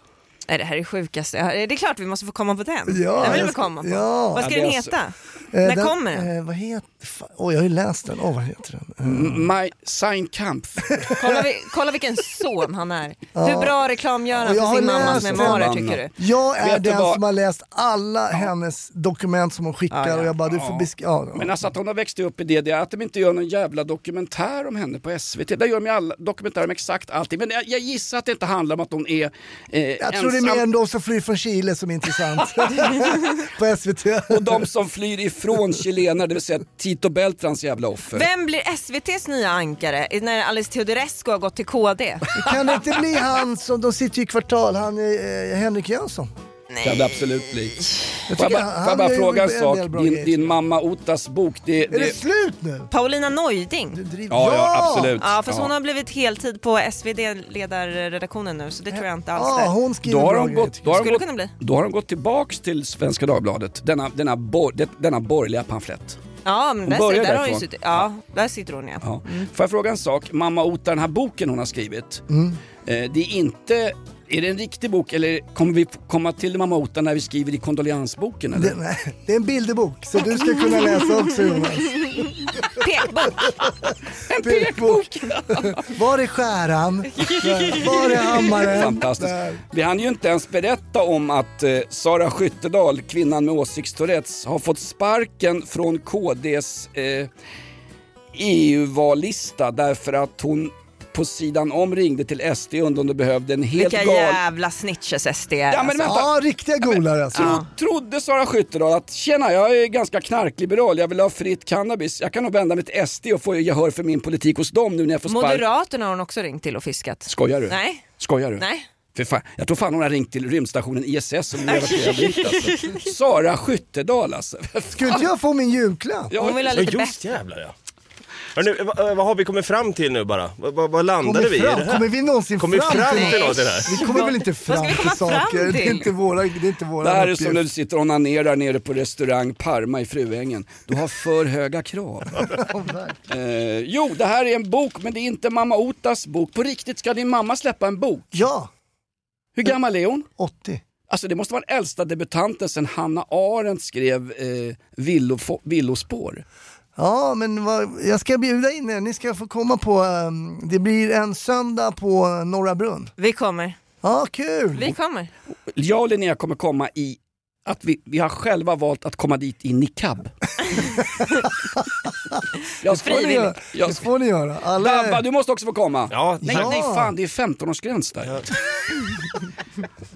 Nej, det här är det sjukaste. jag har- Det är klart vi måste få komma på den.
Ja,
den vill
jag
vi
ska-
komma på.
ja.
Vad ska
Ja, det
den
är så-
heta? När
den-
kommer den?
Eh, vad heter, fa- åh, jag har ju läst den, åh vad heter den?
My Sein Kampf.
Kolla, vi, kolla
[LAUGHS]
vilken son han är.
Ja.
Hur bra reklam gör han för sin mammas memoarer tycker du?
Jag är
Vet du
den
vad?
som har läst alla hennes dokument som hon skickar och jag bara, du får
Ja.
besk- ja,
[LAUGHS]
ja.
Men alltså att hon har växt upp i det, det är att de inte gör någon jävla dokumentär om henne på SVT. Där gör de ju alla dokumentärer om exakt allting. Men jag, jag gissar att det inte handlar om att hon är eh,
Jag tror det är
ensam.
mer än de som flyr från Chile som
[LAUGHS]
är intressant. på SVT.
Och de som flyr ifrån chilenare, det vill säga Tito Beltrans jävla offer.
Vem blir SVTs nya ankare när Alice Teodorescu har gått till
[LAUGHS]
KD?
Kan det inte bli han som, de sitter ju i kvartal, han är eh, Henrik Jönsson.
Kan det absolut bli.
Jag
Får jag
tycker
bara,
han
får jag bara
gör ju
fråga en
en del
sak?
bra
Din,
grejer.
din mamma Otas bok, det...
det
slut nu?
Paulina Neuding. Du driver.
Ja, ja, absolut.
Ja, fast
Ja.
hon har blivit heltid på SvD-ledarredaktionen nu så det tror jag inte alls.
Ja,
är.
hon
Då har, de gått, då, har de
Skulle kunna bli.
gått, då har de gått tillbaks till Svenska Dagbladet, denna, denna, bor, det- denna borgerliga pamflett.
Ja, men
Hon
där,
börjar
där, där, har hon ju
därifrån.
suttit, ja, där sitter hon ja.
Ja. Får jag fråga en sak? Mamma Ota, den här boken hon har skrivit, eh, det är inte... Är det en riktig bok eller kommer vi komma till Mamma Ota när vi skriver i kondoleansboken? Eller?
Det, nej, det är en bilderbok så du ska kunna läsa
[LAUGHS]
också Jonas.
Pekbok!
En pekbok!
Var
[LAUGHS]
är skäran? Var är hammaren?
Fantastiskt.
Där.
Vi hann ju inte ens berätta om att eh, Sara Skyttedal, kvinnan med åsiktstourettes, har fått sparken från KDs eh, EU-vallista därför att hon på sidan om ringde till SD och undrade om de behövde en helt
Vilka
galen...
jävla snitches SD är.
Ja, men vänta.
Ja, riktiga golare alltså.
Tro, trodde Sara Skyttedal att tjena jag är ganska knarkliberal, jag vill ha fritt cannabis, jag kan nog vända mig till SD och få gehör för min politik hos dem nu när jag får sparken.
Alltså, Moderaterna har hon också ringt till och fiskat.
Skojar du?
Nej.
Skojar du?
Nej.
För fan, jag tror fan hon har ringt till rymdstationen ISS och lever flera dit alltså. Sara Skyttedal alltså.
Skulle inte jag få min julklapp?
Ja, Hon vill ha
Ja, just jävlar ja. Hörrni, va- va- vad har vi kommit fram till nu bara? Va- va- Vad landade
Kommer,
vi i det
fram,
här?
kommer vi någonsin
Kommer vi fram till
något?
något i det här?
Vi kommer väl inte fram
vi
till
komma fram
saker? Det är
till?
inte våra, det är inte våra
Det här är som
uppgift.
när du sitter och onanerar nere på restaurang Parma i Fruängen. Du har för höga krav.
[LAUGHS]
eh, jo, det här är en bok men det är inte mamma Otas bok. På riktigt, ska din mamma släppa en bok?
Ja.
Hur gammal är hon?
80.
Alltså det måste vara den äldsta debutanten sedan Hanna Arendt skrev eh, Villofo- Villospår.
Ja, men vad, jag ska bjuda in er. Ni ska få komma på, ehm, det blir en söndag på Norra Brunn.
Vi kommer.
Ja, kul!
Vi kommer.
Jag och Linnea kommer komma i att vi, vi har själva valt att komma dit i
[LAUGHS]
niqab. jag
Det får ni göra.
jag,
Det får ni göra. Alla
Dabba, du måste också få komma.
Ja,
nej,
tack.
nej,
Ja.
fan det är 15-årsgräns där. [LAUGHS]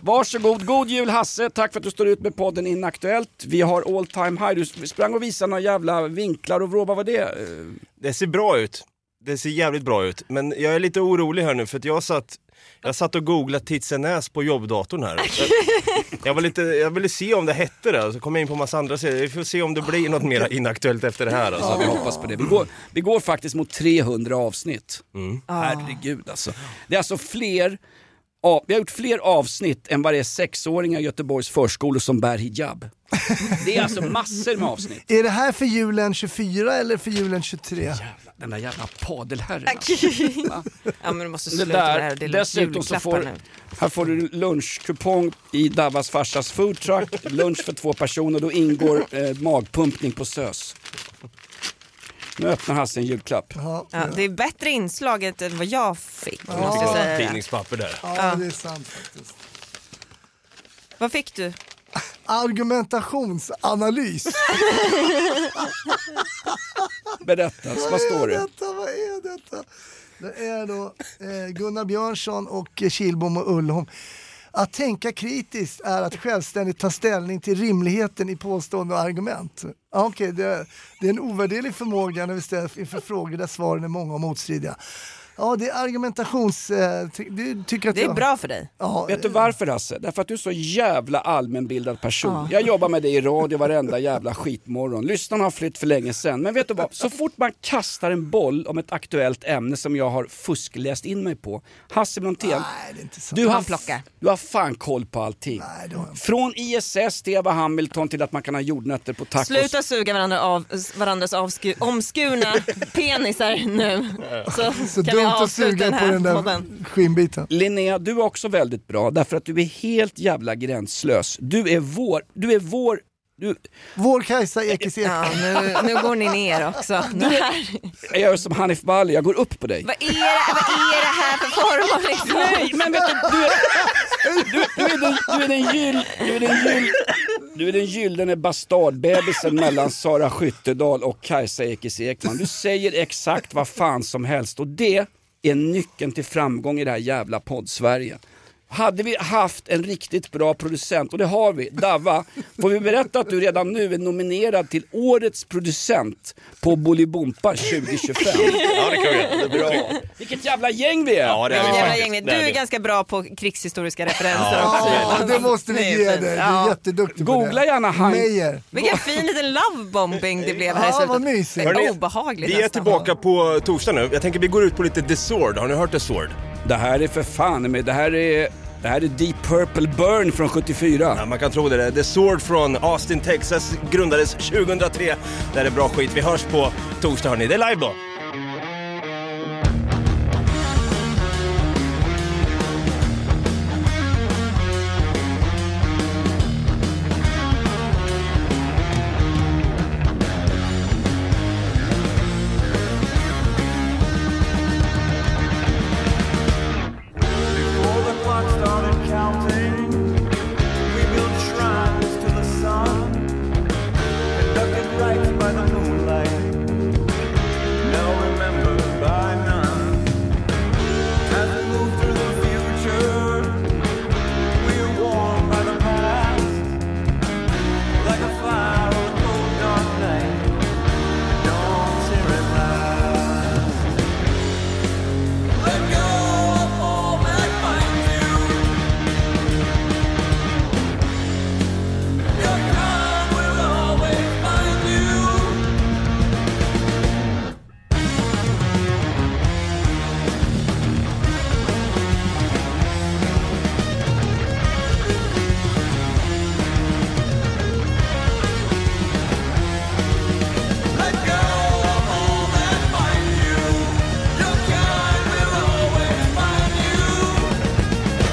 Varsågod, god jul Hasse. Tack för att du står ut med podden Inaktuellt. Vi har all time high. Du sprang och visade några jävla vinklar och vrå, vad var det? Eh,
Det ser bra ut. Det ser jävligt bra ut. Men jag är lite orolig här nu för att jag satt, jag satt och googlade Titsenäs på jobbdatorn här. Jag- Jag, var lite, jag ville se om det hette det, så kom jag in på massa andra sidor. Vi får se om det blir något mer inaktuellt efter det här.
Ja,
Alltså.
vi hoppas på det. Vi går, vi går faktiskt mot 300 avsnitt. Herregud alltså. Det är alltså fler, av, vi har gjort fler avsnitt än vad det är sexåringar i Göteborgs förskolor som bär hijab. Det är alltså massor med avsnitt.
Är det här för julen 24 eller för julen 23?
Den där jävla padelherren alltså.
[LAUGHS] ja men du måste
Det
sluta med det här,
där,
det är
dessutom så
julklappar
får,
nu.
här får du lunchkupong i Davas farsas foodtruck, lunch för två personer, då ingår eh, magpumpning på SÖS. Nu öppnar Hasse en julklapp.
Ja,
Ja, det är bättre inslaget än vad jag fick.
Jag
Måste jag
fick något
säga. det.
tidningspapper där.
ja, det är sant faktiskt.
Vad fick du?
Argumentationsanalys.
Berätta, vad står det?
Detta, vad är detta? Det är då eh, Gunnar Björnsson och eh, Kihlbom och Ullholm. Att tänka kritiskt är att självständigt ta ställning till rimligheten i påstående och argument. Ja, Okej, det, det är en ovärderlig förmåga när vi ställs inför frågor där svaren är många och motstridiga. Ja, det är argumentations... Eh, ty, du tycker att
Det är
jag-
bra för dig.
Ja,
Vet du varför Hasse? Därför att du är så jävla allmänbildad person. Jag jobbar med dig i radio varenda jävla skitmorgon. Lyssnarna har flytt för länge sedan. Men vet du vad? Så fort man kastar en boll om ett aktuellt ämne som jag har fuskläst in mig på. Hasse Brontén,
det är inte sant.
du har,
Han plockar.
du har fan koll på allting. Från ISS till Eva Hamilton till att man kan ha jordnötter på tacos.
Sluta suga varandra av, varandras avsku, omskurna
[LAUGHS]
penisar nu. Så,
Så
kan vi
dumt att
avsluta
suga
den
på
här
den där
podden.
skinnbiten.
Linnea, du är också väldigt bra därför att du är helt jävla gränslös. Du är vår, du är vår
Vår Kajsa Ekis
Ja, nu, nu går ni ner [LAUGHS] också. Det här.
Jag gör som Hanif Bali, jag går upp på dig.
Vad, är det, vad är det här för form av liksom?
Nej, men vet du, du, är- du, du är den, du är den gyll... Du är den gyll... Du är den gyllene bastardbebisen mellan Sara Skyttedal och Kajsa Ekis Ekman. Du säger exakt vad fan som helst och det är nyckeln till framgång i det här jävla poddsverige. Hade vi haft en riktigt bra producent, och det har vi, Dava, får vi berätta att du redan nu är nominerad till årets producent på Bolibompa 2025?
Ja, det kan vi göra.
Bra. Vilket jävla gäng vi är!
Ja, det är vi
Jävla
faktiskt.
gäng.
Det
Du
är vi.
är ganska bra på krigshistoriska referenser
Ja,
också.
Ja, det måste vi
är
ge dig.
fint.
Du är
Ja.
jätteduktig på det.
Googla gärna Hein-
Meijer.
Vilken fin liten lovebombing det blev här i
Ja,
slutet.
vad mysigt.
Det
Hörrni,
är obehagligt
Vi är
nästan.
tillbaka på torsdag nu. Jag tänker vi går ut på lite The Sword. Har ni hört The Sword?
Det här är för fan i mig, det här är, det här är Deep Purple Burn från 74.
Ja, man kan tro det. The Sword från Austin, Texas grundades 2003. Det här är bra skit. Vi hörs på torsdag hörni. Det är live då.
Before the clock started counting, we built shrines to the sun, conducted rites by the moonlight, now remembered by none. As we move through the future, we are warmed by the past, like a fire on a cold dark night. Dawn's here at last. Let go of all that binds you. Your kind will always find you. Let go of all that binds you. Your kind will always find you.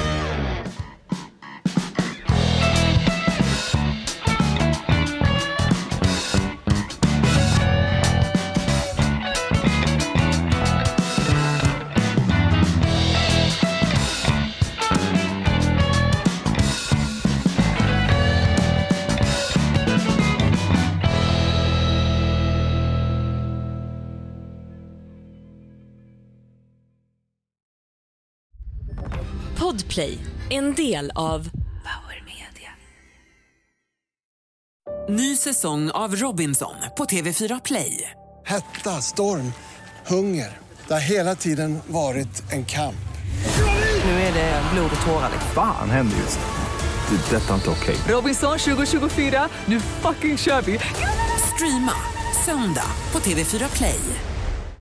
Podplay, en del av Power Media.
Ny säsong av Robinson på TV4 Play.
Hetta, storm, hunger. Det har hela tiden varit en kamp.
Nu är det blod och tårar. liksom.
Fan händer just det. Det är detta inte okej.
Robinson 2024, nu fucking kör vi! Streama söndag på TV4 Play.